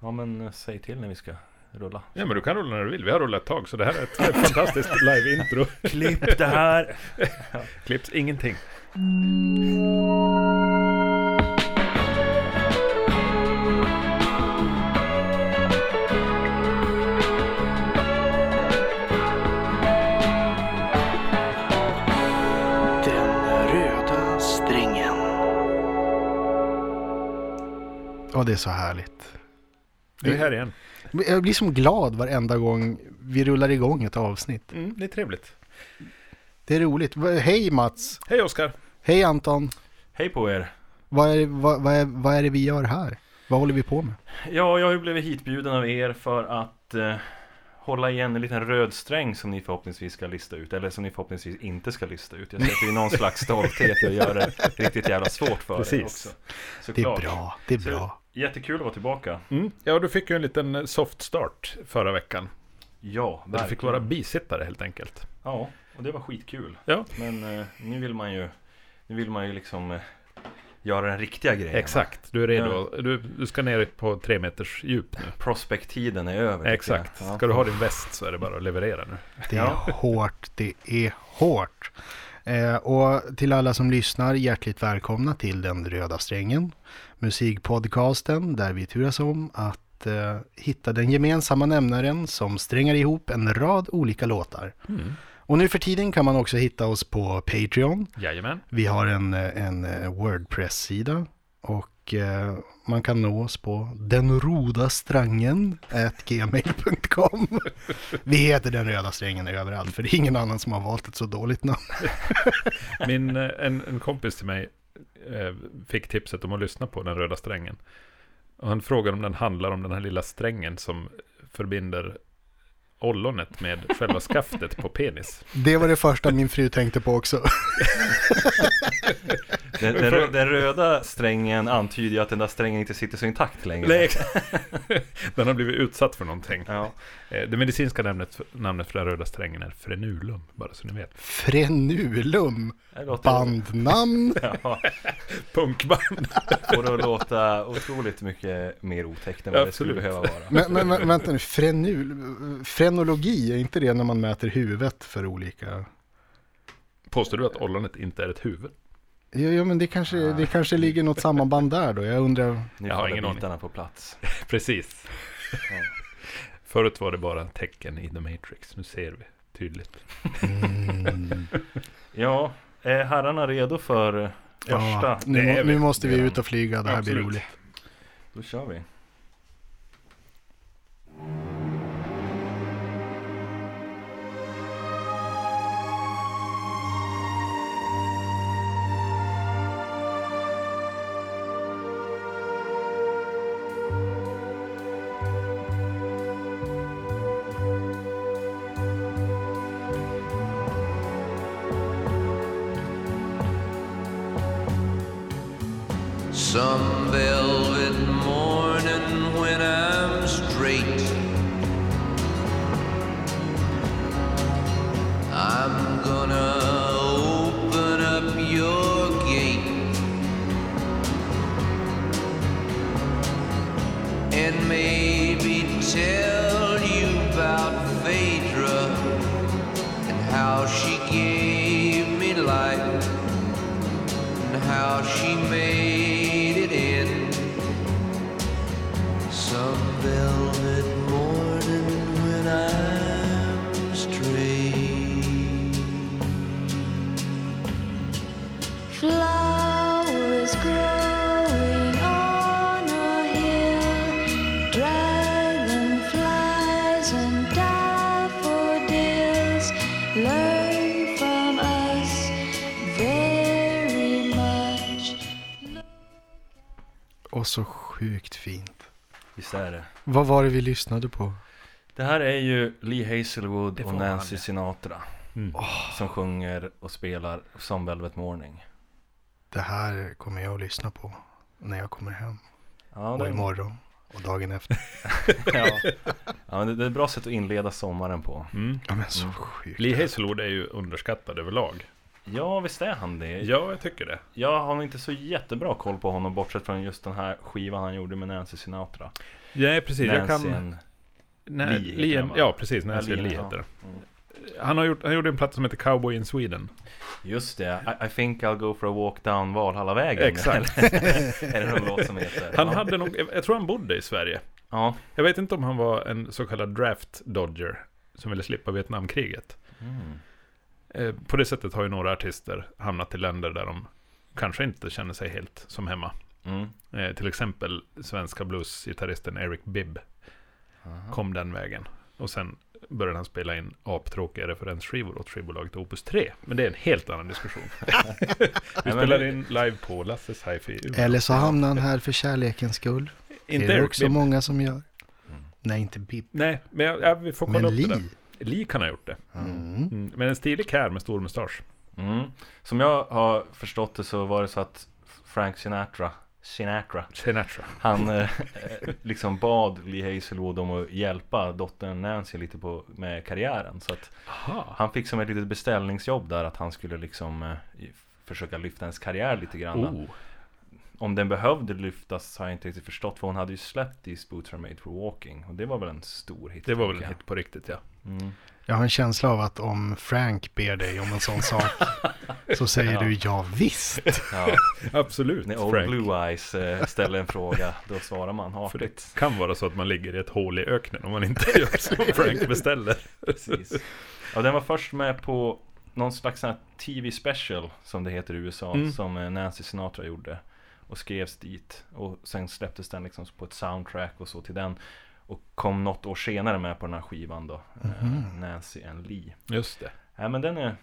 Ja men eh, säg till när vi ska rulla. Ja men du kan rulla när du vill. Vi har rullat ett tag så det här är ett fantastiskt live-intro. Klipp det här! Klipps ingenting. Den röda strängen. Ja, det är så härligt. Vi är här igen. Men Jag blir som glad varenda gång vi rullar igång ett avsnitt. Mm, det är trevligt. Det är roligt. Va- Hej Mats! Hej Oskar. Hej Anton! Hej på er! Vad är, vad, vad, är, vad är det vi gör här? Vad håller vi på med? Ja, jag har ju blivit hitbjuden av er för att eh, hålla igen en liten röd sträng som ni förhoppningsvis ska lista ut. Eller som ni förhoppningsvis inte ska lista ut. Jag ser att det är någon slags stolthet jag gör det riktigt jävla svårt för er Precis. också. Det är Såklart. bra, det är Så- bra. Jättekul att vara tillbaka. Mm. Ja, du fick ju en liten eh, soft start förra veckan. Ja, Där du fick verkligen. vara bisittare helt enkelt. Ja, och det var skitkul. Ja. Men eh, nu vill man ju, nu vill man ju liksom eh, göra den riktiga grejen. Exakt, du är redo. Du, du ska ner på tre meters djup nu. Prospekttiden är över. tycker Exakt. jag. Ja. Ska du ha din väst så är det bara att leverera nu. Det är hårt, det är hårt. Eh, och till alla som lyssnar, hjärtligt välkomna till Den röda strängen. Musikpodcasten där vi turas om att eh, hitta den gemensamma nämnaren som strängar ihop en rad olika låtar. Och nu för tiden kan man också hitta oss på Patreon. Jajamän. Vi har en, eh, en eh, Wordpress-sida och eh, man kan nå oss på denrodastrangen gmail.com. Vi heter Den röda strängen överallt för det är ingen annan som har valt ett så dåligt namn. Min, eh, en, en kompis till mig eh, fick tipset om att lyssna på den röda strängen. Och han frågade om den handlar om den här lilla strängen som förbinder ollonet med själva skaftet på penis. Det var det första min fru tänkte på också. Den, den, rö- den röda strängen antyder ju att den där strängen inte sitter så intakt längre. Nej, exakt. Den har blivit utsatt för någonting. Ja, Eh, Det medicinska namnet för, namnet för den röda strängen är frenulum, bara så ni vet. Frenulum, det låter... bandnamn. Ja, Punkband! får det att låta otroligt mycket mer otäckt än vad det skulle Absolut. behöva vara. Men, men, men vänta nu, frenul, frenologi, är inte det när man mäter huvudet för olika? Påstår du att ollonet inte är ett huvud? Ja, ja men det kanske, det kanske ligger något samband där då. Jag undrar, Nu Jag har ingen faller aning. bitarna på plats. Precis. Förut var det bara tecken i The Matrix, nu ser vi tydligt. Ja, är herrarna redo för eh, första? ja, det nu, är vi. nu måste vi Det är ut och flyga, det här blir roligt. Då kör vi. Some velvet morning when I'm straight. I'm gonna open up your gate and maybe tell you about Phaedra and how she gave me life and how she made it in some velvet morning when I'm straight. Flowers growing on a hill, dragonflies and daffodils learn from us very much. Och så sjukt fint. Visst är det. Vad var det vi lyssnade på? Det här är ju Lee Hazelwood Det och får man Nancy aldrig. Sinatra. Mm. Som sjunger och spelar som Velvet Morning. Det här kommer jag att lyssna på när jag kommer hem. Ja, Och det, imorgon och dagen efter. ja. ja, men det, det är ett bra sätt att inleda sommaren på. Mm. Ja men så sjukt. Lee Hazelwood är ju underskattad överlag. Ja, visst är han det. Ja, jag tycker det. Jag har nog inte så jättebra koll på honom bortsett från just den här skivan han gjorde med Nancy Sinatra. Nej, precis. jag Nancy kan... and- Nej, Lee heter Lee- den, va? ja, precis. Nancy Ja, Lee Lee, ja. Mm. heter den. han, har gjort, han gjorde en platta som heter Cowboy in Sweden. Just det, I, I think I'll go for a walk down Valhallavägen. Exakt. är det någon låt som heter? Han ja. hade nog, jag tror han bodde i Sverige. Ja. Jag vet inte om han var en så kallad draft dodger som ville slippa Vietnamkriget. Mm. Eh, På det sättet har ju några artister hamnat i länder där de kanske inte känner sig helt som hemma. Mm. Eh, Till exempel svenska bluesgitarristen Eric Bibb kom den vägen. Och sen började han spela in aptråkiga referensskivor åt skivbolaget Opus 3. Men det är en helt annan diskussion. Vi men spelar det- in live på Lasses Hi-Fi. Umeå. Eller så hamnar han här för kärlekens skull. Inte det är det Eric också Bibb. många som gör. Nej, inte Bibb. Nej, men jag, jag, vi får kolla Men upp det Li. där. Lee kan ha gjort det. Mm. Mm. Men en stilig kär med stor mustasch. Mm. Som jag har förstått det så var det så att Frank Sinatra Sinatra. Sinatra. Han eh, eh, liksom bad Lee Hazelwood om att hjälpa dottern Nancy lite på, med karriären. Så att Aha. han fick som ett litet beställningsjobb där att han skulle liksom eh, i- försöka lyfta hennes karriär lite grann. Oh. Om den behövde lyftas har jag inte riktigt förstått för hon hade ju släppt These Boots Are Made For Walking och det var väl en stor hit. Det var väl en tänker hit på riktigt, ja. jag. Mm. Jag har en känsla av att om Frank ber dig om en sån sak så säger du ja visst. Ja, Absolut, när Old Frank. Blue Eyes eh, ställer en fråga då svarar man För artigt. det kan vara så att man ligger i ett hål i öknen om man inte gör som Frank beställer. Precis. Ja, den var först med på någon slags sån här TV special som det heter i USA Mm. som eh, Nancy Sinatra gjorde och skrevs dit och sen släpptes den liksom på ett soundtrack och så till den och kom något år senare med på den här skivan då eh, Mhm. Nancy and Lee. Just det. Ja, men den är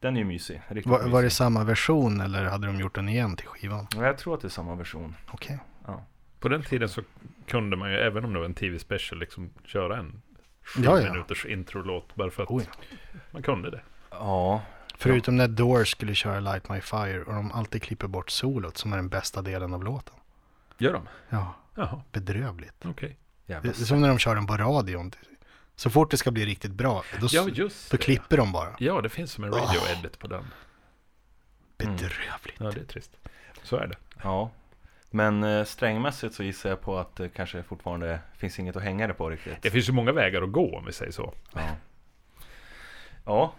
den är ju mysig. Riktigt Var, var det mysig. samma version eller hade de gjort den igen till skivan? Ja, Jag tror att det är samma version. Okej. Ja. På den tiden så kunde man ju, även om det var en tv-special, liksom köra en sju Ja, ja. minuters introlåt bara för att Oj. man kunde det. Ja, Förutom när Doors skulle köra Light My Fire och de alltid klipper bort solot som är den bästa delen av låten. Gör de? Ja, Jaha, bedrövligt. okej. Det jävla är som när de kör den på radion. Så fort det ska bli riktigt bra, då, Ja, just då det. Mm. klipper de bara. Ja, det finns som en radio-edit på den. Bedrövligt. Ja, det är trist. Så är det. Ja, men eh, strängmässigt så gissar jag på att det kanske fortfarande finns inget att hänga det på riktigt. Det finns ju många vägar att gå om vi säger så. Ja, ja.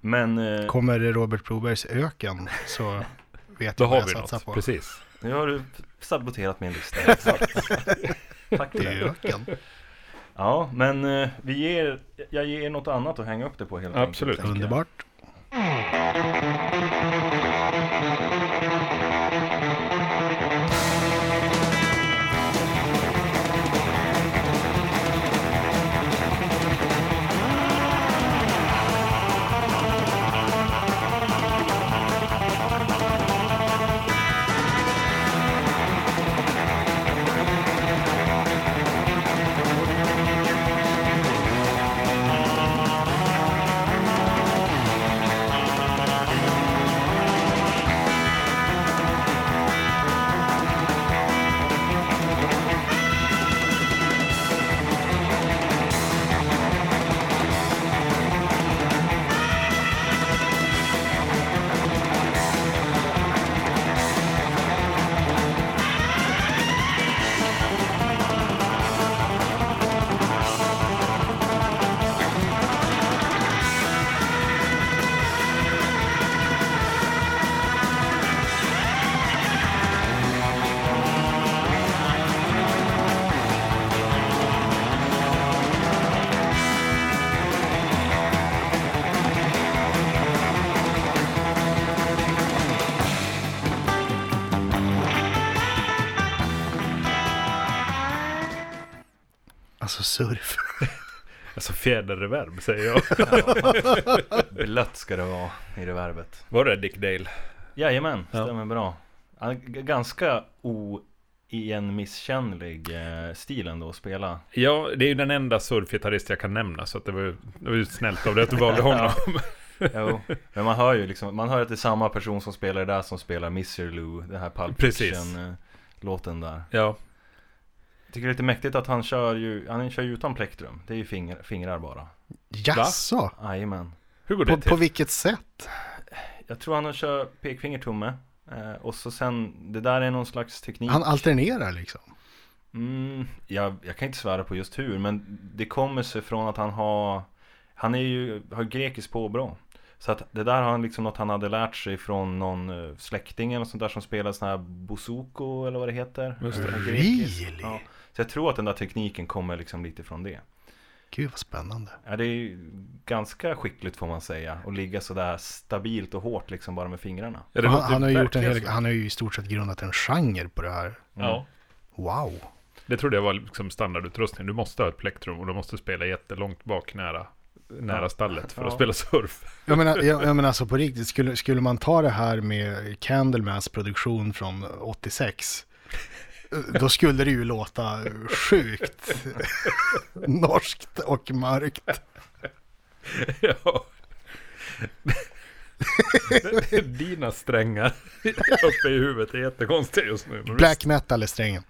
men eh, Kommer Robert Brobergs öken så vet Då jag vad har jag vi satsar något, på. precis. nu har du saboterat min lista. Tack för Det är det. öken. Ja, men eh, vi ger, jag ger er något annat att hänga upp det på helt enkelt, Absolut. tänker jag. Underbart. Alltså surf. Alltså fjäderreverb säger jag. Blött ska det vara i reverbet. Var det Dick Dale? Jajamän, Ja. stämmer bra. Ja, g- Ganska oigenmisskännlig eh, stil ändå att spela. Ja, det är ju den enda surfgitarrist jag kan nämna, så att det, var, ju- det var ju snällt av dig att du valde honom. Jo, men man hör ju liksom, man hör att det är samma person som spelar det där som spelar Mr. Lou, den här Pulp Precis. Fiction-låten där. ja, Tycker det är lite mäktigt att han kör ju, han kör ju utan plektrum. Det är ju fingrar, fingrar bara. Jaså? Jajamän. hur går det På, till? på vilket sätt? Jag tror han kör pekfingertumme. Eh, och så sen, det där är någon slags teknik. Han alternerar liksom. Mm, jag, jag kan inte svära på just hur, men det kommer sig från att han har Han är ju, har grekiskt påbrå Så att det där har han liksom något han hade lärt sig från någon eh, släkting eller sånt där som spelar sån här bouzouko eller vad det heter Just det. Eh, grekiskt. Really? Ja. Så jag tror att den där tekniken kommer liksom lite från det Gud vad spännande. ja, Det är ju ganska skickligt får man säga Att ligga sådär stabilt och hårt liksom bara med fingrarna Ja, det han, låter han, har ju gjort en verkligen hel, så. han har ju i stort sett grundat en genre på det här. Ja, Wow. det trodde jag var liksom standardutrustning. Du måste ha ett plektrum och du måste spela jättelångt bak nära, nära Ja. stallet för att Ja. spela surf. Jag menar, jag, jag menar alltså på riktigt, skulle, skulle man ta det här med Candlemans produktion från 86, då skulle det ju låta sjukt norskt och mörkt. ja. Dina strängar uppe i huvudet är jättekonstiga just nu. men Black metal är strängen.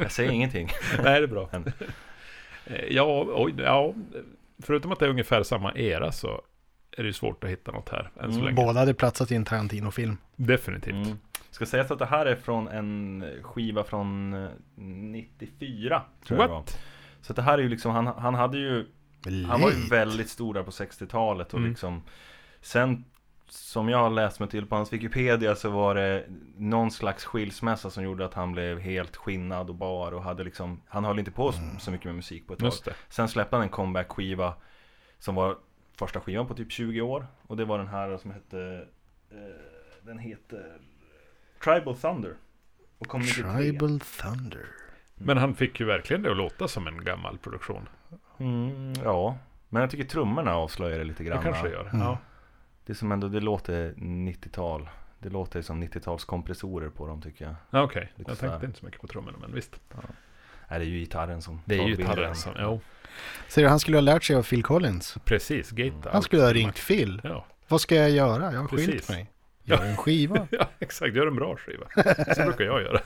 Jag säger ingenting visst. Nej, det är bra. Men- Eh, Ja, oj, ja, förutom att det är ungefär samma era så är det ju svårt att hitta något här än så Mm. länge. Båda hade platsat i en Tarantino-film. Definitivt. Mm. Ska sägas att det här är från en skiva från eh, 94 tror jag det var. What? Så att det här är ju liksom, han, han hade ju Han var ju Late. väldigt stor där på 60-talet och Mm. liksom Sen som jag har läst mig till på hans Wikipedia så var det någon slags skilsmässa som gjorde att han blev helt skinnad och bar och hade liksom Han höll inte på så- så mycket med musik på ett tag Mm. Just det. Sen släppte han en comeback-skiva Som var första skivan på typ 20 år Och det var den här som hette eh, Den heter Tribal Thunder och kom 93. Tribal Thunder. Men han fick ju verkligen det att låta som en gammal produktion. Mm, ja Men jag tycker trummorna avslöjar det lite Det grann kanske det gör. Mm. Ja. Det är som ändå, det låter 90-tal. Det låter som 90-talskompressorer på dem tycker jag. Ja, Okej, Lite jag så här. tänkte inte så mycket på trummorna, men visst. Nej, det är ju gitarren som Det är tar ju bilden. gitarren som... Jo, Ser du, han skulle ha lärt sig av Phil Collins. precis. Gate Han skulle ha ringt Phil. Ja, Vad ska jag göra? Jag har skilt Precis. mig. Gör en skiva. ja, exakt. Gör en bra skiva. Så brukar jag göra.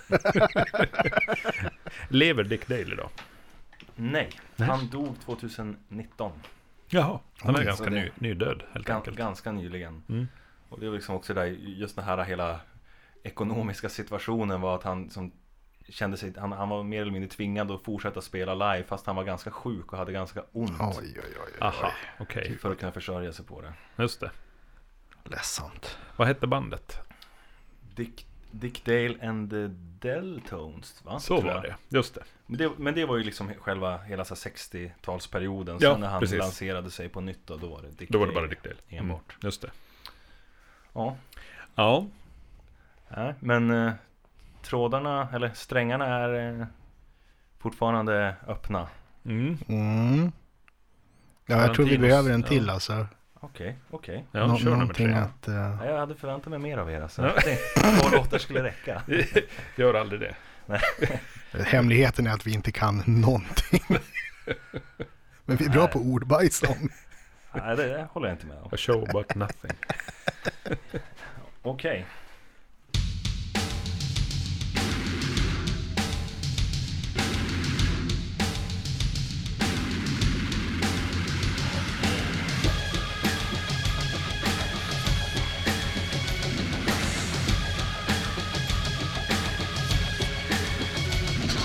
Lever Dick Dale idag? Nej, han dog 2019. Jaha. Han är Oj, ganska så det- ny, nydöd, helt Gan, enkelt. ganska nyligen. Mm. Och det var liksom också det där, just den här hela ekonomiska situationen var att han som kände sig, han, han var mer eller mindre tvingad att fortsätta spela live fast han var ganska sjuk och hade ganska ont. Oj, oj, oj. oj. Aha, okej. För att kunna försörja sig på det. Just det. Ledsamt. Vad hette bandet? Dick, Dick Dale and the Deltones va? Så Tror var jag. det, just det. Men det, men det var ju liksom själva hela så här 60-talsperioden. Ja, Sen när han precis. lanserade sig på nytt då, då var det Dick Då var det Dale bara Dick Dale. Mm, Enbart. Just det. Ja, Ja, nej, men eh, trådarna, eller strängarna är eh, fortfarande öppna. mm. Mm. Ja, jag tror vi Tarantinos, behöver en till ja. alltså. Okej, okej. ja Nå- kör nummer någonting tre. att... eh, Nej, Jag hade förväntat mig mer av er alltså. Ja. Det- Två låtar skulle räcka. Gör aldrig det. Hemligheten är att vi inte kan någonting. Men vi är bra Nej. på ordbajs om. Nej, det, det håller jag inte med om. A show but nothing. Okej. Peter Steele.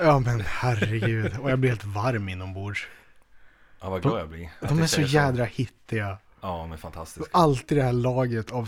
Ja men herregud. Och jag blir helt varm inombords. Ja, vad glad jag blir. att De du är så säger jädra hittiga. Ja, men Och fantastiskt. alltid det här laget av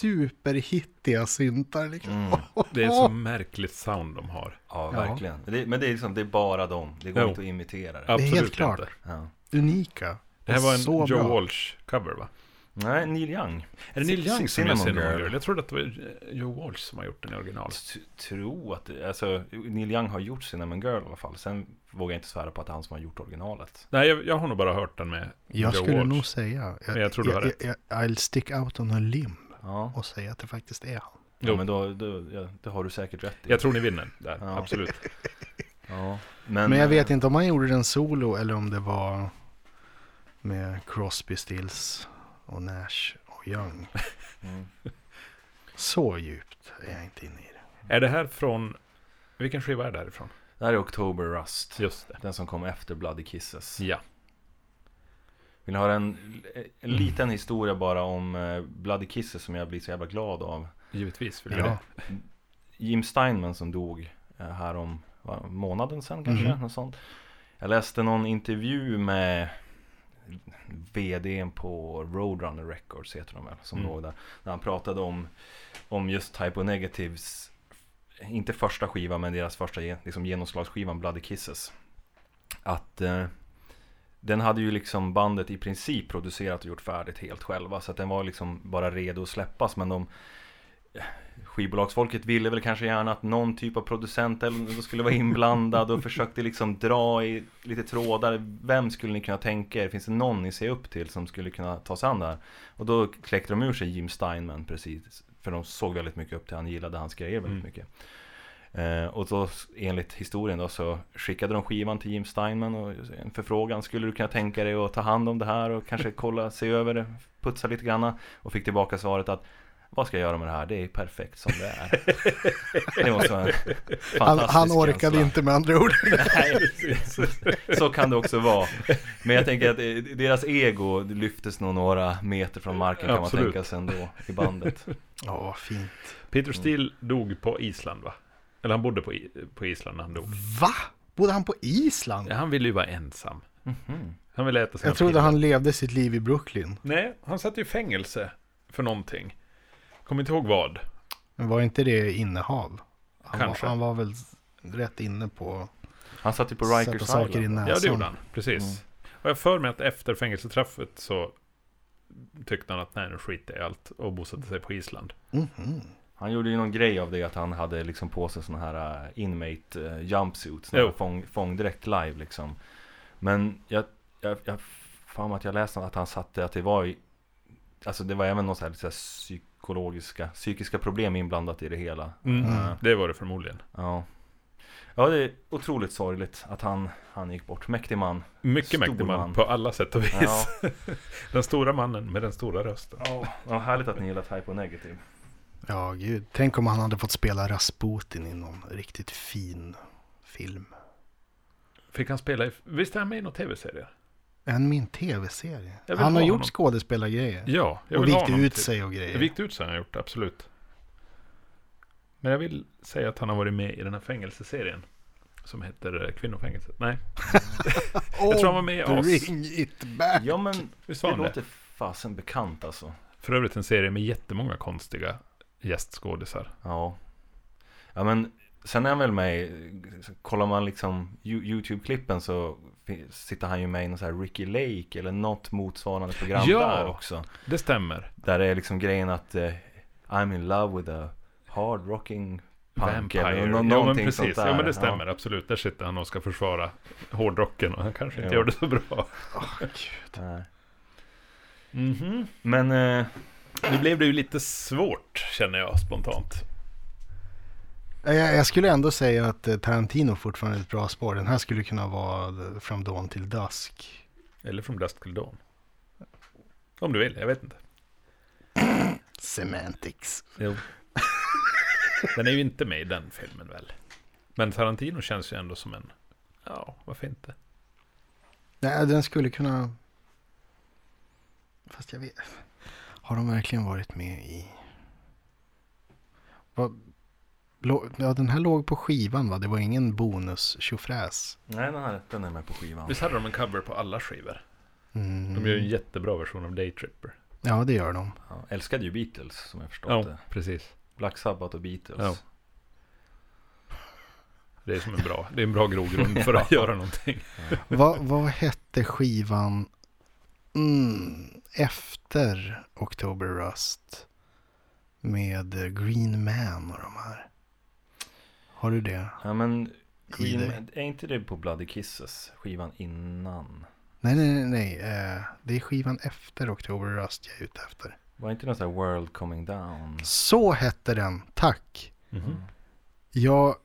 superhittiga syntar. Liksom. Mm. Det är så märkligt sound de har. Ja, verkligen. Det, men det är liksom, det är bara dem. Det går Jo. inte att imitera det. Absolut helt klart. Inte. Ja. Unika. Det här var en Så Joe bra. Walsh-cover va? Nej, Neil Young. Är det Neil Cin- Young som är Cinnamon Cinnamon Girl. Girl? Jag trodde att det var eh, Joe Walsh som har gjort den i originalet. T- Tro att, det- alltså Neil Young har gjort Cinnamon Girl i alla fall. Sen vågar jag inte svära på att det är han som har gjort originalet. Nej, jag, jag har nog bara hört den med Jag Joe skulle Walsh. nog säga. Men jag tror du har jag, jag, I'll stick out on a limb Ja, och säga att det faktiskt är han. ja Jo. men då, då ja, det har du säkert rätt i. Jag tror ni vinner där, Ja. absolut. ja, Men eh, jag vet inte om han gjorde den solo eller om det var med Crosby, Stills och Nash och Young. Mm. Så djupt är jag inte inne i det. Är det här från... Vilken skiva är det här ifrån? eh, Det här är October Rust. Just det. Den som kom efter Bloody Kisses. Ja. Vill ni höra en, en Mm. liten historia bara om eh, Bloody Kisses som jag blir så jävla glad av? Givetvis vill vi Ja, det. Jim Steinman som dog eh, här om va, månaden sedan kanske, Mhm. något sånt. Jag läste någon intervju med VDn på Roadrunner Records heter de väl, som Mm. låg där. När han pratade om, om just Type O Negatives, inte första skiva men deras första ge- liksom, genomslagsskivan Bloody Kisses. Att eh, den hade ju liksom bandet i princip producerat och gjort färdigt helt själva. Så att den var liksom bara redo att släppas. Men de skivbolagsfolket ville väl kanske gärna att någon typ av producent eller något skulle vara inblandad och försökte liksom dra i lite trådar. Vem skulle ni kunna tänka er? Finns det någon ni ser upp till som skulle kunna ta sig an det här? Och då kläckte de ur sig Jim Steinman precis. För de såg väldigt mycket upp till han gillade hans grejer väldigt Mm. mycket. Eh, och då enligt historien då så skickade de skivan till Jim Steinman och en förfrågan skulle du kunna tänka dig att ta hand om det här och kanske kolla, se över det, putsa lite granna och fick tillbaka svaret att vad ska jag göra med det här? Det är perfekt som det är. Det var så en han, fantastisk han orkade känsla. inte med andra ord. Nej, precis. så kan det också vara. Men jag tänker att eh, deras ego lyftes nog några meter från marken kan Absolut. man tänka sig ändå i bandet. Ja, vad fint. Peter Mm. Steele dog på Island va? Eller han bodde på, I- på Island när han Mm. dog. Va? Bodde han på Island? Han ville ju vara ensam. Mhm. Han ville äta sina Jag trodde piller. han levde sitt liv i Brooklyn. Nej, han satt ju i fängelse för någonting. Kommer inte ihåg vad. Men var inte det innehav? Han, Kanske. Var, han var väl rätt inne på Han satt ju på att Rikers sätta saker i Island. näsan. Ja, det gjorde han. Precis. Och jag för mig att efter fängelsetraffet så tyckte han att nej, nu skiter jag i allt och bosatte sig på Island. Mhm. Han gjorde ju någon grej av det att han hade liksom på sig sådana här eh, inmate eh, jumpsuits, såna här Jo. fång, fångdräkt live liksom. Men jag, jag, jag fan att jag läste att han satte att det var i, alltså det var även någon så här, så här psykologiska, psykiska problem inblandat i det hela. Mm. Det var det förmodligen. Ja. Ja, det är otroligt sorgligt att han, han gick bort. Mäktig man. Stor Mycket mäktig man man. på alla sätt och vis. Ja, Den stora mannen med den stora rösten. ja härligt att ni gillar Type O Negative. Ja, gud. Tänk om han hade fått spela Rasputin i någon riktigt fin film. Fick han spela i... Visst är han med i någon tv-serie? Än min tv-serie. Jag vill Han har ha gjort honom. skådespelargrejer. Ja, jag och vill ha vikt honom ut till- sig och Jag grejer. Vikt ut sig har han gjort, absolut. Men jag vill säga att han har varit med i den här fängelseserien. Som heter eh, Kvinnofängelset. Nej, jag tror han var med i Oh, As. Bring it back! Ja, men Visst var det han det? låter fasen bekant alltså. För övrigt en serie med jättemånga konstiga gästskådisar. Ja. Ja men sen är han väl med i- Kollar man liksom Yo- YouTube-klippen så fi- sitter han ju med i någon sån här Ricky Lake eller något motsvarande program Ja. där också. Det stämmer. Där är liksom grejen att eh, I'm in love with a hard rocking punk eller nå- ja men någonting sånt precis. där. Ja men det stämmer absolut. Där sitter han och ska försvara hårdrocken och han kanske inte Ja. gör det så bra. Nej. Mhm. Men eh, Nu blev det ju lite svårt känner jag spontant. Jag, jag skulle ändå säga att eh, Tarantino fortfarande är ett bra spår. Den här skulle kunna vara eh, From Dawn till Dusk. Eller From Dusk Till Dawn. Om du vill, jag vet inte. Semantics. Jo. Den är ju inte med i den filmen väl? Men Tarantino känns ju ändå som en... Ja, varför inte? Nej, den skulle kunna... Fast jag vet... Har de verkligen varit med i... Vad... Lå- Ja, den här låg på skivan va? Det var ingen bonus tjofräs. nej den, här, den är med på skivan. Visst hade de en cover på alla skivor? De gör ju en jättebra version av Daytripper. Mm. Ja, det gör de. Ja, älskade ju Beatles som jag förstått Ja, det. precis. Black Sabbath och Beatles. Ja. Det är som en bra, det är en bra grogrund för att göra någonting. Vad, vad hette skivan mm, efter October Rust? Med eh, Green Man och de här. Har du det? Ja men, I Queen, dig? är inte det på Bloody Kisses? Skivan innan? Nej, nej, nej. nej. eh, Det är skivan efter October Rust jag är ute efter. Var inte någon sån här World Coming Down? Så hette den, tack. Mhm. Jag,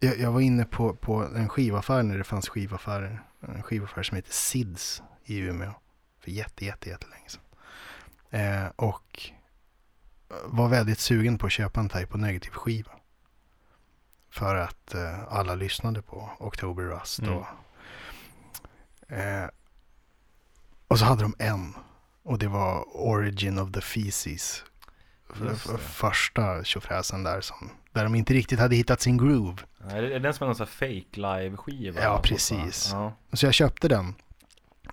jag, jag var inne på, på en skivaffär när det fanns skivaffärer. En skivaffär som heter Sids i Umeå. För jätte, jätte, jättelänge sedan. Eh, och var väldigt sugen på att köpa en Type negativ skiva. För att eh, alla lyssnade på October Rust. Mm. Och, eh, och så hade de en. Och det var Origin of the Feces. F- Just det. f- första tjofräsen där som, där de inte riktigt hade hittat sin groove. Ja, Är det, är det den som är någon sån här fake live-skiva? Ja, precis. Ja. Så jag köpte den.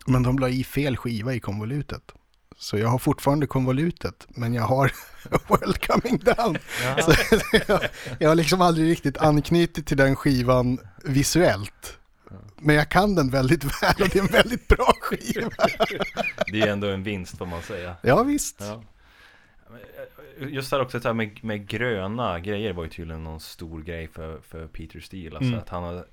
Men de la i fel skiva i konvolutet. Så jag har fortfarande konvolutet, men jag har World Coming Down. Jaha. Så jag, jag har liksom aldrig riktigt anknutit till den skivan visuellt. Men jag kan den väldigt väl och det är en väldigt bra skiva. Det är ändå en vinst får man säga. Ja, visst. Ja. Just där också det här med, med gröna grejer var ju tydligen någon stor grej för, för Peter Steele. Alltså Mm. att han var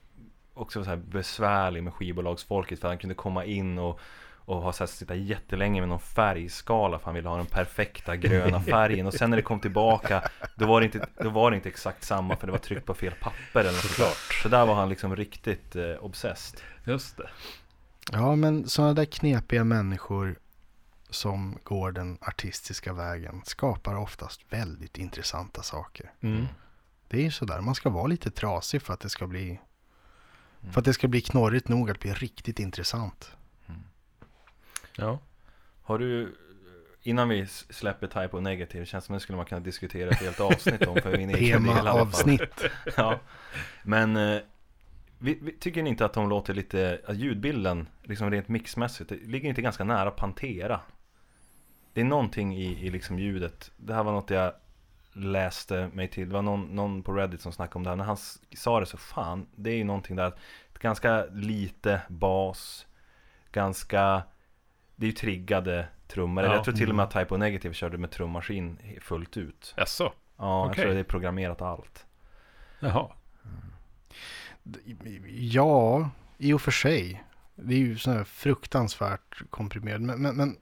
också så här besvärlig med skivbolagsfolket för han kunde komma in och, och ha så här, sitta jättelänge med någon färgskala för han ville ha den perfekta gröna färgen. Och sen när det kom tillbaka då var det inte, då var det inte exakt samma för det var tryckt på fel papper eller något sånt där. Så där var han liksom riktigt eh, obsessed. Just det. Ja, men sådana där knepiga människor som går den artistiska vägen skapar oftast väldigt intressanta saker. Mm. Det är ju sådär, man ska vara lite trasig för att det ska bli för att det ska bli knorrigt nog att bli riktigt intressant. Ja. Har du, innan vi s- släpper Type och Negative, känns som det skulle man kunna diskutera ett helt avsnitt om för min egen del i alla Tema fall. avsnitt. Ja. Men eh, vi, vi, tycker ni inte att de låter lite, att ljudbilden, liksom rent mixmässigt, det ligger inte ganska nära Pantera? Det är någonting i, i liksom ljudet, det här var något jag läste mig till, det var någon, någon på Reddit som snackade om det här, när han s- sa det så fan, det är ju någonting där, att ganska lite bas, ganska, det är ju triggade trummor, Ja. Mm. jag tror till och med att Typo Negative körde med trummaskin he- fullt ut. Jaså? Ja, jag Okej. tror det är programmerat allt. Jaha. Ja, i och för sig. Det är ju sådär fruktansvärt komprimerat. Men, men, men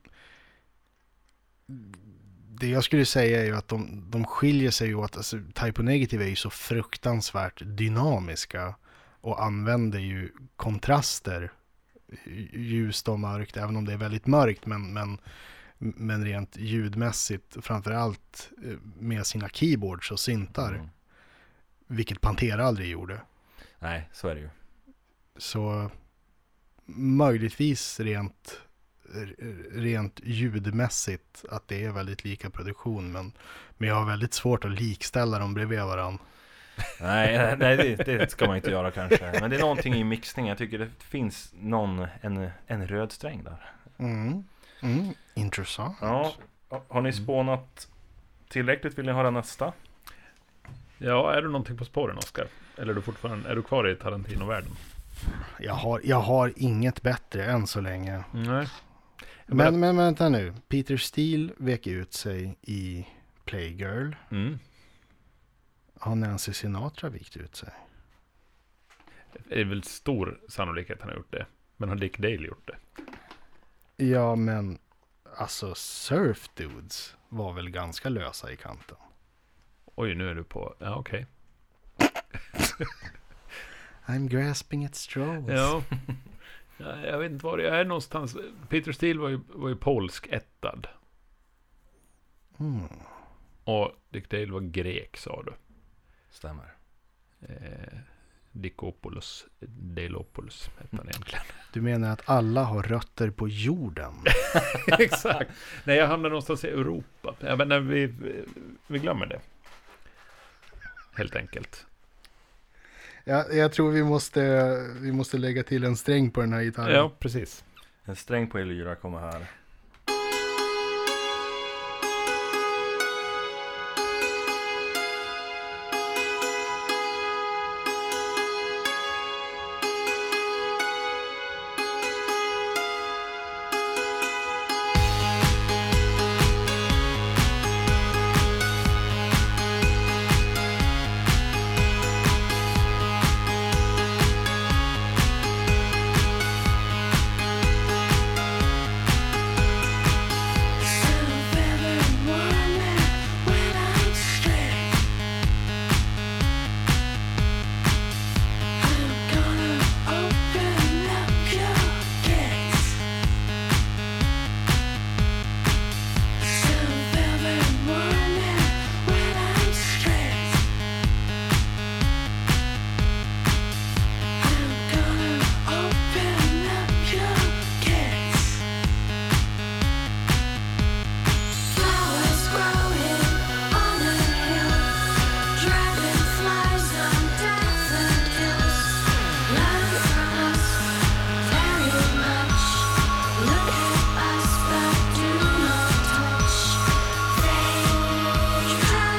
det jag skulle säga är ju att de, de skiljer sig åt. Alltså, Typo Negative är ju så fruktansvärt dynamiska och använder ju kontraster. Ljust och mörkt, även om det är väldigt mörkt. Men, men, men rent ljudmässigt, framförallt eh, med sina keyboards och syntar. Mm. Vilket Pantera aldrig gjorde. Nej, så är det ju. Så möjligtvis rent, r- rent ljudmässigt att det är väldigt lika produktion. Men, men jag har väldigt svårt att likställa dem bredvid varandra. Nej, nej, nej det, det ska man inte göra kanske. Men det är någonting i mixningen. Jag tycker det finns någon, en, en röd sträng där. Mm. Mm. Intressant. Ja, har ni spånat tillräckligt? Vill ni höra nästa? Ja, är du någonting på spåren, Oskar? Eller är du fortfarande, är du kvar i Tarantino-världen? Jag, har, jag har inget bättre än så länge. Nej. Men, men vänta nu. Peter Steele vek ut sig i Playgirl. Mm. Har Nancy Sinatra vikt ut sig? Det är väl stor sannolikhet att han har gjort det. Men har Dick Dale gjort det? Ja, men alltså Surf Dudes var väl ganska lösa i kanten. Oj, nu är du på... Ja, okej. I'm grasping at straws. Ja. Ja, Jag vet inte var jag är någonstans. Peter Steele var ju, var ju polsk ettad. Mm. Och Dick Dale var grek, sa du. Stämmer. Eh, Dicopoulos, Delopoulos hette han egentligen. Du menar att alla har rötter på jorden? Exakt. Nej, jag hamnade någonstans i Europa. Ja, men nej, vi, vi glömmer det. Helt enkelt. jag, jag tror vi måste, vi måste lägga till en sträng på den här gitarren. Ja, precis. En sträng på Elyra kommer här. Flowers growing on the hill, dragonflies on daffodils. Learn from us very much. Look at us, but do not touch. They try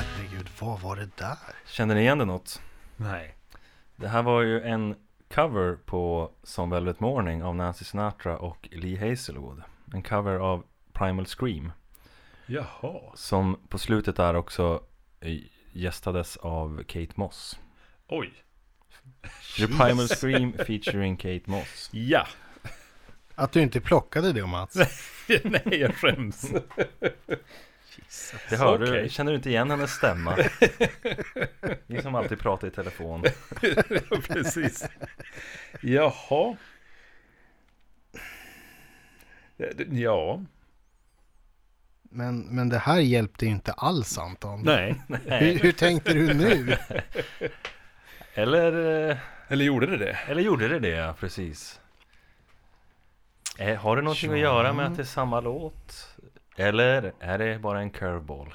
it, Herregud, vad var det där? Kände ni igen det något? Nej. Det här var ju en cover på Som Velvet Morning av Nancy Sinatra och Lee Hazelwood. En cover av Primal Scream. Jaha. Som på slutet där också eh, gästades av Kate Moss. Oj. The Primal Scream featuring Kate Moss. Ja. Att du inte plockade det Mats. Nej, jag skäms. Det hör du, Okej. känner du inte igen hennes stämma? Ni som alltid pratar i telefon. Ja, Precis. Jaha. Ja, Eh, det- Ja. Men, men det här hjälpte ju inte alls Anton. Nej. Hur, hur tänkte du nu? Eller, eh, Eller gjorde det det? eller gjorde det det, ja, precis. Eh, Har det någonting att göra med att det är samma låt? Eller är det bara en curveball?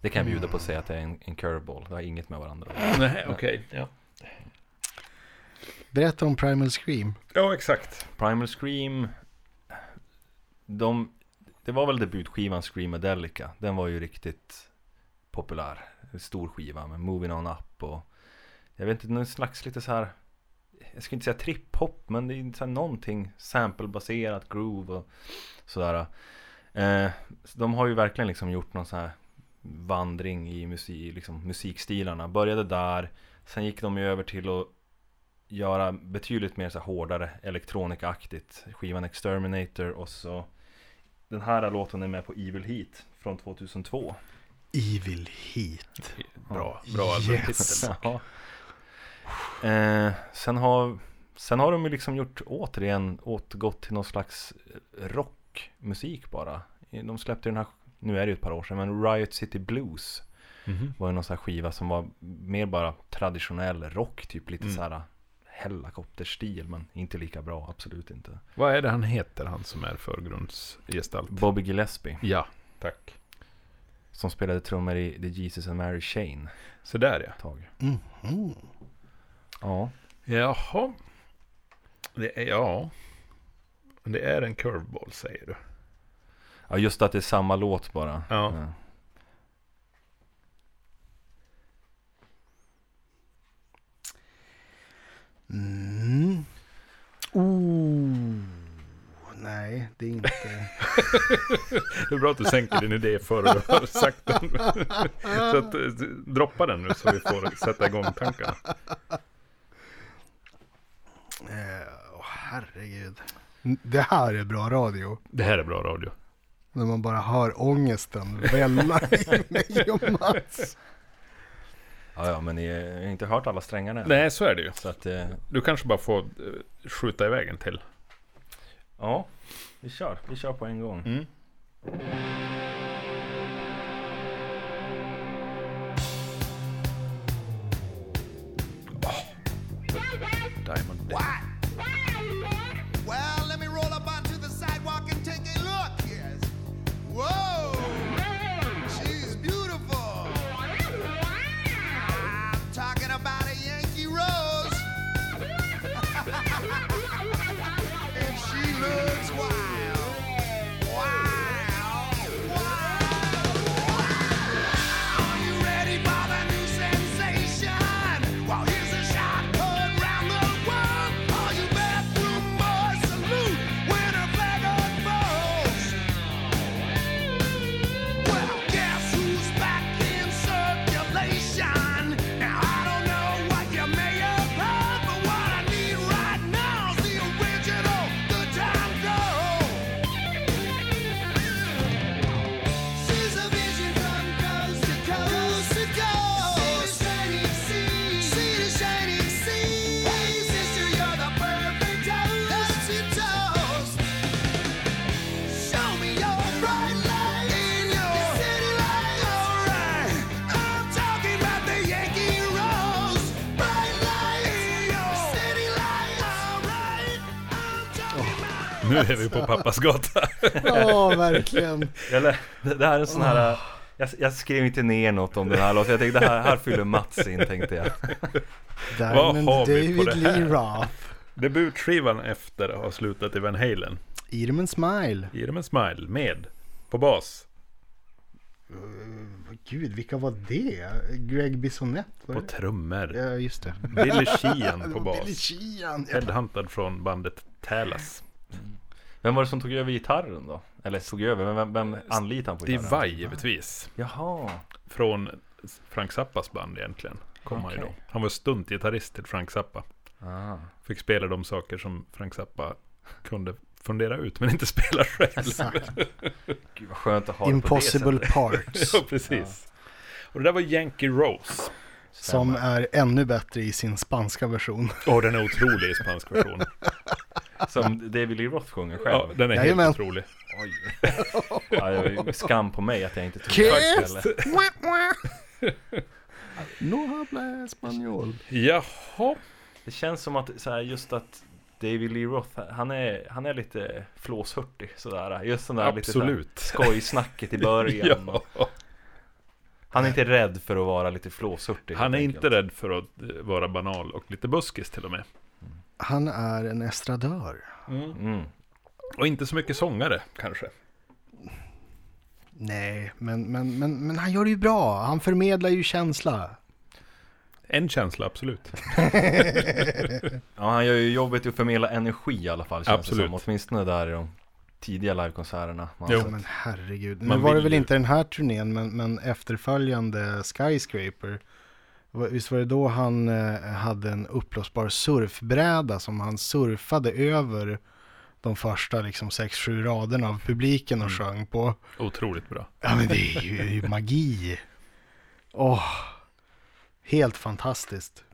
Det kan jag bjuda på att säga att det är en, en curveball. Det har inget med varandra att göra. Nej, okej. Ja. Berätta om Primal Scream. ja, exakt. Primal Scream de, Det var väl debutskivan Screamadelica Den var ju riktigt populär En Stor skiva med Moving On Up och Jag vet inte, någon slags lite så här Jag skulle inte säga trip-hop men det är så här någonting Sample-baserat, groove och sådär eh, så De har ju verkligen liksom gjort någon så här Vandring i musik, liksom musikstilarna Började där Sen gick de ju över till att göra betydligt mer så här hårdare elektronikaktigt. Skivan Exterminator och så den här låten är med på Evil Heat från 2002. Evil Heat. Bra, bra albumtitel. Yes. Ja. Eh, sen, har, sen har de ju liksom gjort återigen återgått till någon slags rockmusik bara. Eh, De släppte den här, nu är det ju ett par år sedan, men Riot City Blues Mhm. var ju någon sån här skiva som var mer bara traditionell rock, typ lite så här helikopterstil, men inte lika bra, absolut inte. Vad är det han heter, han som är förgrundsgestalt? Bobby Gillespie, Ja, tack. som spelade trummor i The Jesus and Mary Chain Så där ja. ett tag. Mhm. Ja, Jaha. Det är, ja. Det är en curveball säger du. ja just att det är samma låt bara. Ja. Eh, Mm. Oh. Nej, det är inte... Det är bra att du sänker din idé före du har sagt den. Så att, eh, droppa den nu så vi får sätta igång tankarna. Eh, åh, herregud. Det här är bra radio. Det här är bra radio. När man bara hör ångesten välla i mig och Mats. ja, ja, men ni eh, jag har inte hört alla strängarna än. Nej, så är det ju. Så att, eh, Du kanske bara får eh, skjuta iväg en till. ja, vi kör. Vi kör på en gång. Diamond. Well, let me roll up onto the sidewalk and take a look. Yes. Whoa! She's beautiful. I'm talking about a Yankee Rose. Nu är vi på pappas gata. Ja, verkligen. Eller, det, det här är en sån här... äh, Jag, jag skrev inte ner något om den här låten. Jag tänkte det här, här fyller Mats in tänkte jag. Diamond har vi på David det här? Lee Roth. Debutskivan efter har slutat i Van Halen. Eat 'em and smile. Ge dem en smile med på bas Gud, vilka var det? Greg Bissonette? Var på det? trummor. Ja, just det. Billy Sheehan på Det var Billy bas. Sheehan. Ja. Headhuntad från bandet Talas. Vem var det som tog över gitarren då? Eller tog över, men vem, vem anlitade han på Steve gitarren? Vai givetvis. Jaha. Från Frank Zappas band egentligen. Kom han, ju då. Okej. han var stuntgitarrist till Frank Zappa. Ah. Fick spela de saker som Frank Zappa kunde fundera ut men inte spela själv. Exakt. Gud vad skönt att ha det på Impossible det sättet. Parts. ja, precis. Och det där var Yankee Rose. Som är ännu bättre i sin spanska version. Åh, den är otrolig i spansk version. Som David Lee Roth sjunger Ja, själv. den är Jajamän. helt otrolig. Oj. Ja, det var ju skam på mig att jag inte tog Kiss! faktiskt, eller? No habla español. Jaha. Det känns som att så här, just att David Lee Roth, han är, han är lite flåshurtig sådär. Just den där lite Absolut. så här skojsnacket i början. och Ja. Han är inte rädd för att vara lite flåshurtig. Han helt är enkelt. inte rädd för att eh, vara banal och lite buskis till och med. Han är en estradör. Mm. Och inte så mycket sångare kanske. Nej, men, men, men, men han gör det ju bra. Han förmedlar ju känsla. En känsla, absolut. Ja, han gör ju jobbet i att förmedla energi i alla fall. Känns Absolut. Det som. Åtminstone där i de tidiga livekonserterna. Man alltså- Jo. har sett. Men herregud. Nu Man var det vill väl ju. inte den här turnén, men, men efterföljande Skyscraper. Va- Visst var det då han eh, hade en uppblåsbar surfbräda som han surfade över de första liksom, sex, sju raderna av publiken Mm. och sjöng på. Otroligt bra. Ja men det är ju, det är ju magi. Åh, helt fantastiskt.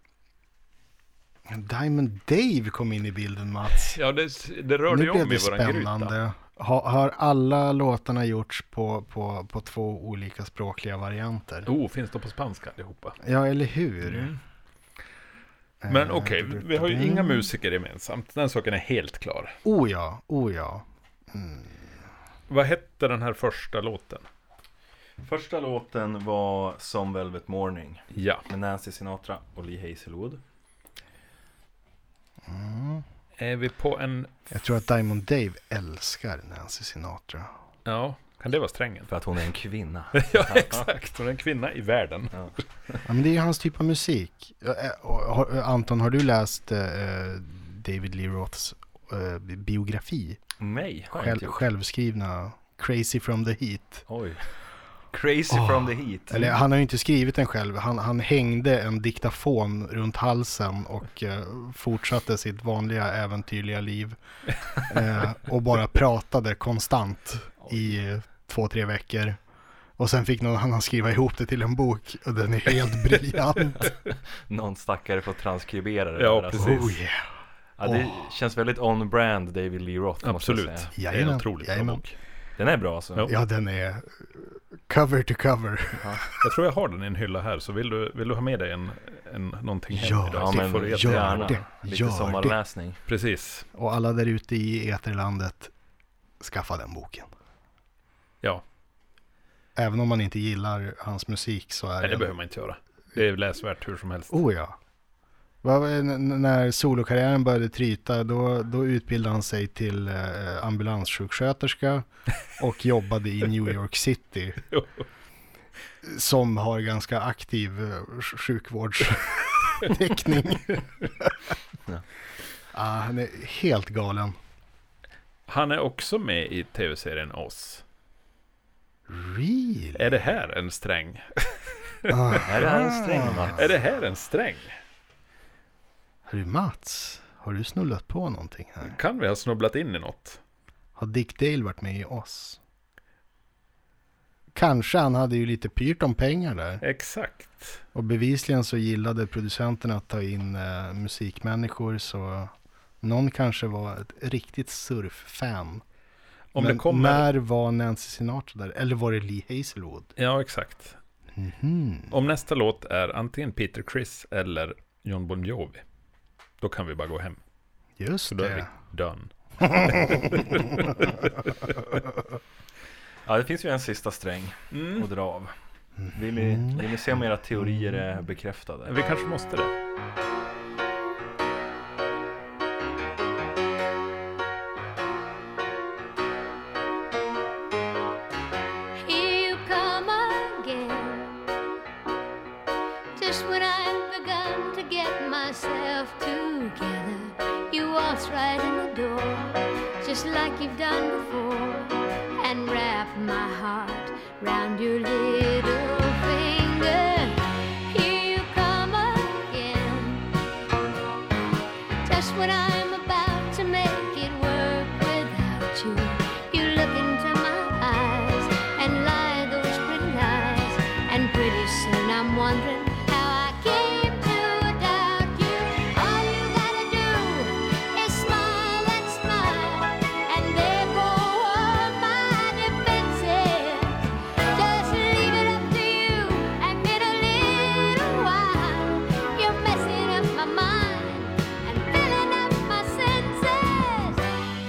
Diamond Dave kom in i bilden Mats. Ja, det, det rörde nu ju om i blev det våran gryta. spännande. Ha, har alla låtarna gjorts på, på, på två olika språkliga varianter? Oh, finns de på spanska allihopa? Ja, eller hur? Mm. Eh, Men okej, vi har ju mm. inga musiker gemensamt. Den saken är helt klar. Oh ja, oh ja. Vad hette den här första låten? Första låten var Some Velvet Morning Ja. med Nancy Sinatra och Lee Hazelwood. Är vi på en... Jag tror att Diamond Dave älskar Nancy Sinatra. Ja, kan det vara strängen? För att hon är en kvinna. Ja, exakt. Hon är en kvinna i världen. Ja, men det är ju hans typ av musik. Ja, eh, och har- Anton, har du läst eh, eh, David Lee Roths eh, biografi? Nej, har jag Själv, inte gjort. självskrivna Crazy from the Heat. Oj. Crazy Åh. from the heat. Mm. Eller han har ju inte skrivit den själv. Han, han hängde en diktafon runt halsen och eh, fortsatte sitt vanliga äventyrliga liv. Eh, och bara pratade konstant i eh, två, tre veckor. Och sen fick någon annan skriva ihop det till en bok och den är helt briljant. Någon stackare får transkribera det. Ja, där, alltså. precis. Oh yeah. Ja, det känns väldigt on-brand David Lee Roth. Måste jag Absolut. säga. Det är en Jajamän, otroligt bra jajamän. bok. Den är bra alltså. Ja. Ja, den är cover to cover. Jag tror jag har den i en hylla här, så vill du, vill du ha med dig en, en, någonting hem Ja, idag? så det får du gör jättegärna. det. Lite Gör det. sommarläsning. Precis. Och alla där ute i eterlandet, skaffa den boken. Ja, Även om man inte gillar hans musik så är nej, det den... behöver man inte göra. Det är läsvärt hur som helst. Oh ja. Vad- n- n- När solokarriären började tryta, då, då utbildade han sig till eh, ambulanssjuksköterska och jobbade i New York City. Som har ganska aktiv eh, sj- sjukvårdstäckning. Ja. ah, han är helt galen. Han är också med i tv-serien Oss. Really? Är det här en sträng? Ah, Är det här en sträng Mats? Är det här en sträng? hörru Mats, har du snullat på någonting här? Kan vi ha snubblat in i något? Har Dick Dale varit med i oss? Kanske han hade ju lite pyrt om pengar där. Exakt. Och bevisligen så gillade producenterna att ta in eh, musikmänniskor så någon kanske var ett riktigt surffan. Om Men det kommer... när var Nancy Sinatra där? Eller var det Lee Hazelwood? Ja, exakt. Mhm. Om nästa låt är antingen Peter Criss eller John Bon Jovi. Då kan vi bara gå hem. Just Så då är det. vi done. Ja, det finns ju en sista sträng Mm. att dra av. Mm. Vill ni, vill ni se om era teorier är bekräftade? Vi kanske måste det. Here you come again. Just when I've begun to get myself together, you waltz right in the door, just like you've done before, and wrap my heart round your little finger. Here you come again. Just when I'm about to make it work without you, you look into my eyes and lie those pretty lies. And pretty soon I'm wondering how I came to doubt you. All you gotta do is smile and smile, and there go all my defenses. Just leave it up to you and get a little while. You're messing up my mind and filling up my senses.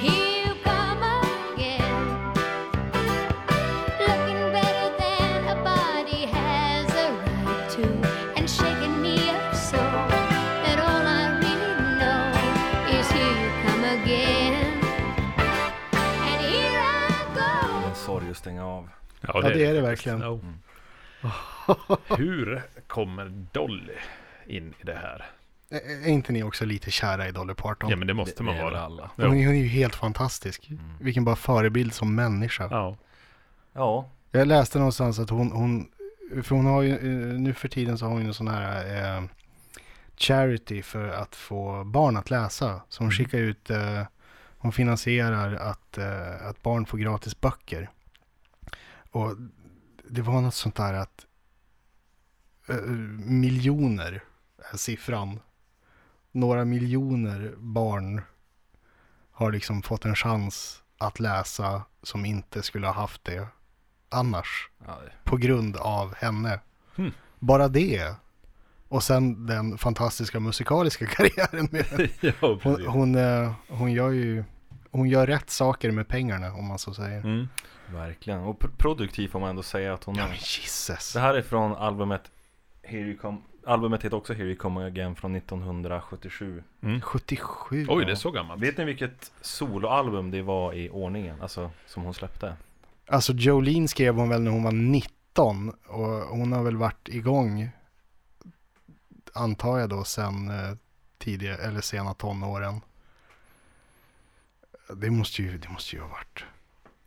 Here you come again. Looking better than a body has a right to, and shaking me up so that all I really know is here you come again. And here I go. En sorg att stänga av. Ja, det är det verkligen. Ja. Hur kommer Dolly in i det här? Ä- Är inte ni också lite kära i Dolly Parton? Ja, men det måste man det är väl vara. alla. Jo. Hon är hon är ju helt fantastisk. Mm. Vilken bara förebild som människa. Ja. Ja, Jag läste någonstans att hon, hon, för hon har ju, eh, nu för tiden så har hon ju en sån här eh, charity för att få barn att läsa. Så hon skickar ut, eh, hon finansierar att, eh, att barn får gratis böcker. Och det var något sånt där att eh, miljoner är siffran. Några miljoner barn har liksom fått en chans att läsa som inte skulle ha haft det annars ja det- på grund av henne. Hmm. Bara det. Och sen den fantastiska musikaliska karriären med henne. ja, Hon, precis. hon, eh, hon gör ju, hon gör rätt saker med pengarna om man så säger. Mm. verkligen. Och pro- produktiv får man ändå säga att hon Ja är. men Jesus. Det här är från albumet Here you come. Albumet heter också Here you come again från 1977. Mm. 77. Oj, det är så gammalt. Vet ni vilket soloalbum det var i ordningen? Alltså som hon släppte? Alltså Jolene skrev hon väl när hon var 19 och hon har väl varit igång, antar jag då, sen eh, tidiga eller sena tonåren. Det måste ju, det måste ju ha varit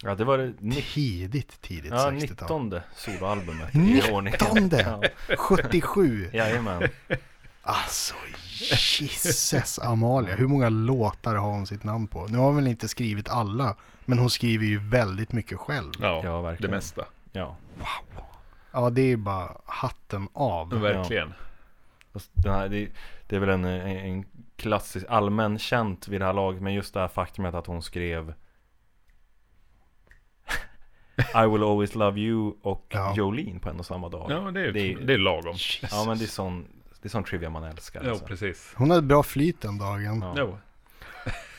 Ja, det var det ni- tidigt, tidigt ja, 60-tal. 19 soloalbumet i ordningen. 19! Ja, 77! jajamän. Alltså Jesus Amalia, hur många låtar har hon sitt namn på? Nu har hon väl inte skrivit alla, men hon skriver ju väldigt mycket själv. Ja, Ja, verkligen. det mesta. Ja. Ja, det är bara hatten av. Verkligen. Fast Den här, det, det är väl en, en, en klassisk, allmän känt vid det här laget, men just det här faktumet att hon skrev I will always love you och Ja. Jolene på en och samma dag. Ja, det, är, Det det, är- är, lagom. Ja, men det är sån, det är sån trivia man älskar. Ja, alltså. precis. Hon hade bra flyt den dagen. Ja. Jo.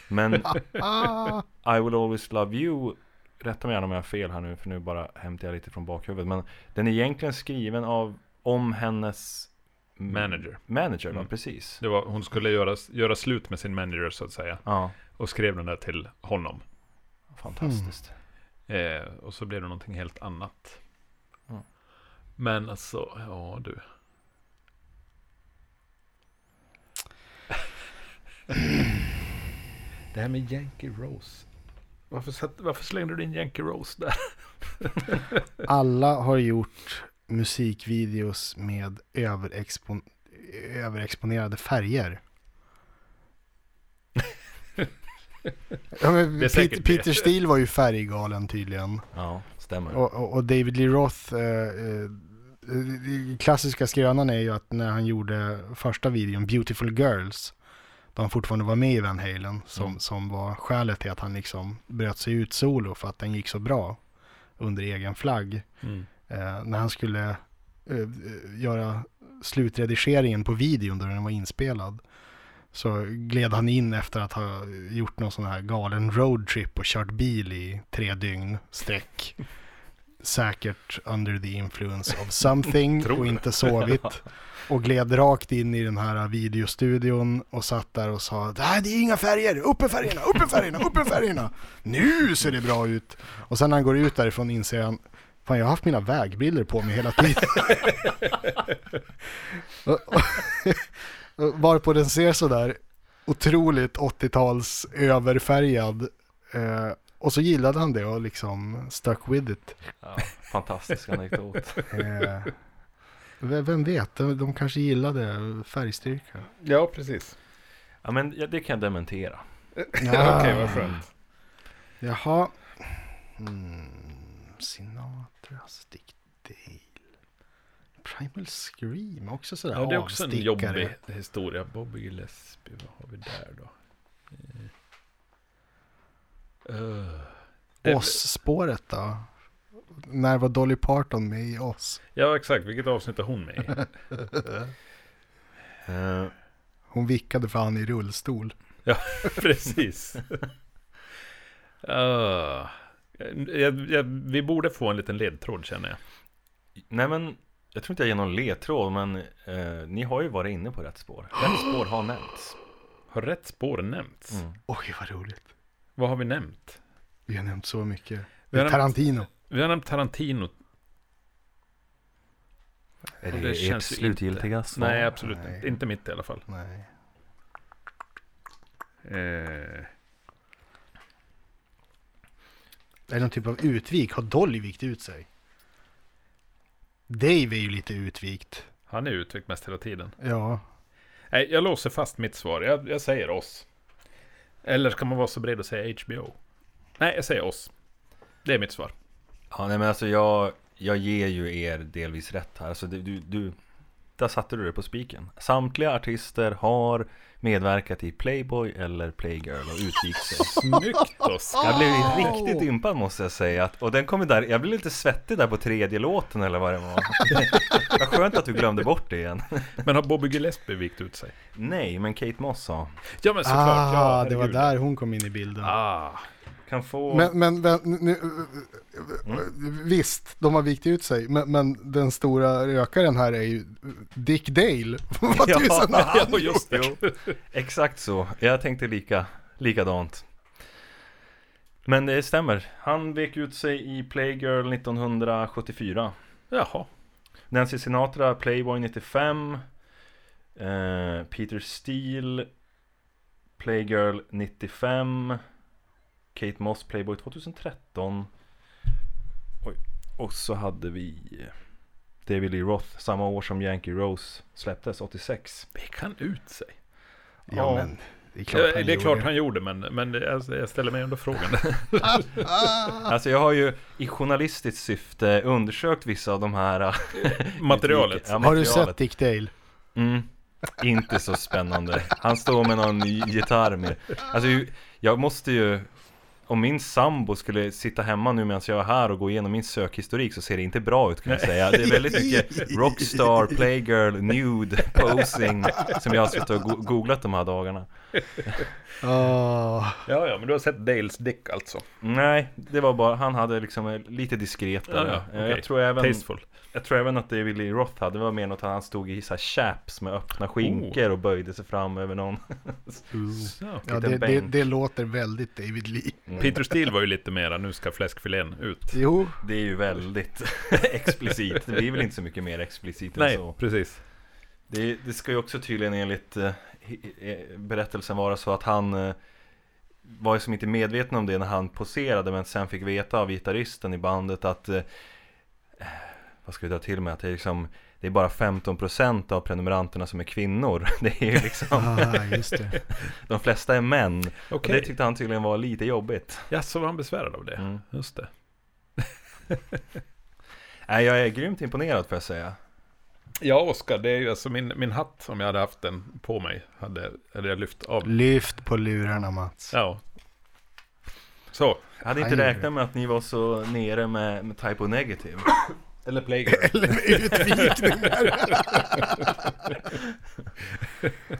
Men Ah, I will always love you, rätta mig gärna om jag har fel här nu, för nu bara hämtar jag lite från bakhuvudet. Men den är egentligen skriven av, om hennes Manager. Manager, ja Mm. precis. Det var, hon skulle göra, göra slut med sin manager så att säga. Ja, Och skrev den där till honom. fantastiskt. Eh, och så blev det någonting helt annat. Ja. Men alltså, ja du. Det här med Yankee Rose. Varför, satt, varför slängde du in Yankee Rose där? alla har gjort musikvideos med överexpon överexponerade färger. Ja, men Det är säkert Pet- det. Peter Steele var ju färggalen tydligen. Ja, stämmer. Och, och, och David Lee Roth, eh, eh, den klassiska skrönan är ju att när han gjorde första videon, Beautiful Girls, då han fortfarande var med i Van Halen, som, Mm. som var skälet till att han liksom bröt sig ut solo för att den gick så bra under egen flagg. Mm. Eh, när han skulle eh, göra slutredigeringen på videon då den var inspelad Så gled han in efter att ha gjort någon sån här galen roadtrip och kört bil i tre dygn sträck. Säkert under the influence of something Tror och det. inte sovit. Och gled rakt in i den här videostudion och satt där och sa Nej det är inga färger, upp med färgerna, upp med färgerna, upp med färgerna. Nu ser det bra ut. Och sen när han går ut därifrån inser han Fan jag har haft mina vägbilder på mig hela tiden. Och- och- Varpå den ser sådär otroligt 80-tals överfärgad. Eh, och så gillade han det och liksom stuck with it. Ja, fantastisk anekdot. Eh, v- vem vet, de, de kanske gillade färgstyrka. Ja, precis. Ja, men ja, det kan jag dementera. Ja. Okej, vad skönt. Ah, Jaha. Mm, Sinatras Dick Dale. Primal Scream, också sådär Ja, det är också en avstickare. jobbig historia. Bobby Gillespie, vad har vi där då? Eh, eh, Oss-spåret då? När var Dolly Parton med i Oss? Ja, exakt. Vilket avsnitt är hon med i? Eh, Hon vickade för han i rullstol. Precis. Ah. jag, jag, vi borde få en liten ledtråd känner jag. nej, men jag tror inte jag ger någon ledtråd, men eh, ni har ju varit inne på rätt spår. Rätt spår har nämnts. Har rätt spår nämnts? Mm. Oj, vad roligt. Vad har vi nämnt? Vi har nämnt så mycket. Vi har nämnt- Tarantino. Vi har nämnt Tarantino. Är det Det ert känns ju slutgiltiga svar? Nej, absolut nej. inte. Inte mitt i alla fall. Nej. Eh, Är det någon typ av utvik? Har Dolly vikt ut sig? Dave är ju lite utvikt. han är utvikt mest hela tiden. Ja. Nej, jag låser fast mitt svar. Jag, jag säger oss. Eller ska man vara så bred och säga HBO? Nej, jag säger oss. Det är mitt svar. Ja, nej, men alltså jag, jag ger ju er delvis rätt här. Alltså, du, du, du, där satte du det på spiken. Samtliga artister har medverkat i Playboy eller Playgirl och utgick sig. Snyggt Oskar! Jag blev riktigt impad måste jag säga. Att, och den kom ju där, jag blev lite svettig där på tredje låten eller vad det var. Vad skönt att du glömde bort det igen. Men har Bobby Gillespie vikt ut sig? Nej, men Kate Moss sa. Ja, men såklart. ja, ah, det var herregud. där hon kom in i bilden. Ah, Kan få... Men, men vä- nu, Mm. visst, de har vikt ut sig, men, men den stora rökaren här är ju Dick Dale. Vad Ja, tusan har han ja, just det. Jo, Exakt så. Jag tänkte lika, likadant. Men det stämmer. Han vek ut sig i Playgirl 1974. Jaha. Nancy Sinatra, Playboy 95 eh, Peter Steele Playgirl 95 Kate Moss, Playboy 2013 Oj. Och så hade vi eh, David Lee Roth, samma år som Yankee Rose släpptes, 86 Vek han ut sig? Ja, men det är klart Ja, han det är klart gjorde. han gjorde, men, men det- alltså, jag ställer mig ändå frågan. Alltså jag har ju i journalistiskt syfte undersökt vissa av de här eh, Materialet. utrike- ja, Har du materialet. sett Dick Dale? Mm. Inte så spännande. Han står med någon ny gitarr med. Alltså, ju- jag måste ju... Om min sambo skulle sitta hemma nu medan jag är här och gå igenom min sökhistorik så ser det inte bra ut kan jag säga. Det är väldigt mycket rockstar, playgirl, nude, posing som jag har suttit och go- googlat de här dagarna. Ah, Ja, ja, men du har sett Dales dick alltså. Nej, det var bara, han hade liksom eh, lite diskretare. Ja, ja, Eh, okej. jag, tror även, Tasteful. jag tror även att David Lee Roth hade, det var mer något att han stod i så här chaps med öppna skinkor och böjde sig fram över någon. Så. ja, Liten det, det, bänk. det låter väldigt David Lee. Peter Steele var ju lite mera, nu ska fläskfilén ut. Jo, Det är ju väldigt explicit. Det blir väl inte så mycket mer explicit än Nej, så. precis. Det, det ska ju också tydligen enligt eh, hi- eh, berättelsen vara så att han eh, var ju som inte medveten om det när han poserade men sen fick veta av gitarristen i bandet att eh, vad ska vi dra till med? Att det är liksom det är bara 15% av prenumeranterna som är kvinnor. Det är ju liksom, ah, just det. de flesta är män. Och Okej. det tyckte han tydligen var lite jobbigt. Ja, så var han besvärad av det. Mm. Just det. Nej, jag är grymt imponerad får jag säga. Ja, Oskar, det är ju alltså min, min hatt, om jag hade haft den på mig, hade, hade jag lyft av. Lyft på lurarna Mats. Ja. Så, Jag hade inte Aj. räknat med att ni var så nere med, med Typo Negative. Eller Playgirl. Eller med utvikningar.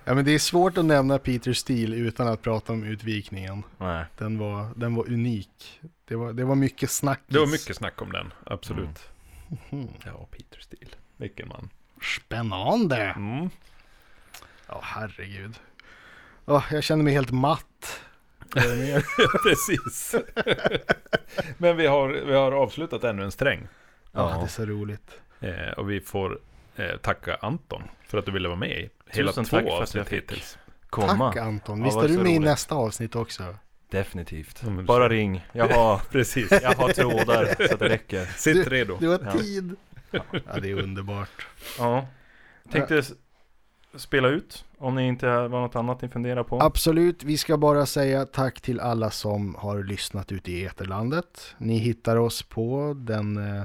ja, men det är svårt att nämna Peter Steele utan att prata om utvikningen. Nej. Den var, den var unik. Det var, det var mycket snack. Det var mycket snack om den, absolut. Ja, Peter Steele. Mm. Vilken man. Spännande. Mm. Ja, herregud. Åh, jag känner mig helt matt. Precis. Men vi har, vi har avslutat ännu en sträng. Ja. Ja. det är så roligt. Eh, och vi får eh, tacka Anton för att du ville vara med i hela Tusen två tack för att jag avsnitt fick hittills. Komma. Tack Anton. Ja, Visst var är det du så med i roligt? nästa avsnitt också? Definitivt. Ja, men du Bara ser. ring. Jag har, Precis. jag har trådar så att det räcker. Sitt redo. Du har Ja. tid. Ja, det är underbart. Ja. Tänkte s- spela ut om ni inte var något annat ni funderar på. Absolut, vi ska bara säga tack till alla som har lyssnat ute i eterlandet. Ni hittar oss på den eh,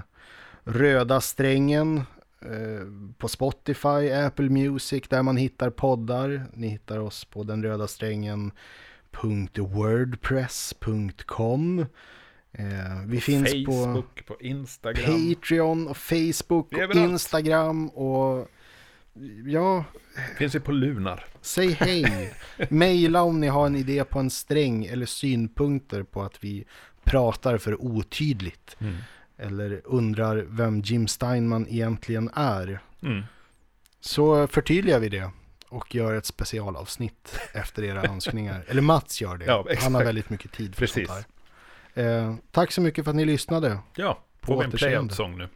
röda strängen eh, på Spotify, Apple Music, där man hittar poddar. Ni hittar oss på den röda strängen .wordpress.com eh, Vi finns på Facebook, på, Instagram. Patreon och Facebook Vi är och överallt. Instagram och ja, Finns vi på Lunar. Säg hej. Maila om ni har en idé på en sträng eller synpunkter på att vi pratar för otydligt. Mm. Eller undrar vem Jim Steinman egentligen är. Mm. Så förtydligar vi det och gör ett specialavsnitt efter era önskningar. Eller Mats gör det. Ja, Han har exakt. väldigt mycket tid för Precis. sånt här. Eh, tack så mycket för att ni lyssnade. Ja, På får vi en återseende. play-out-sång nu.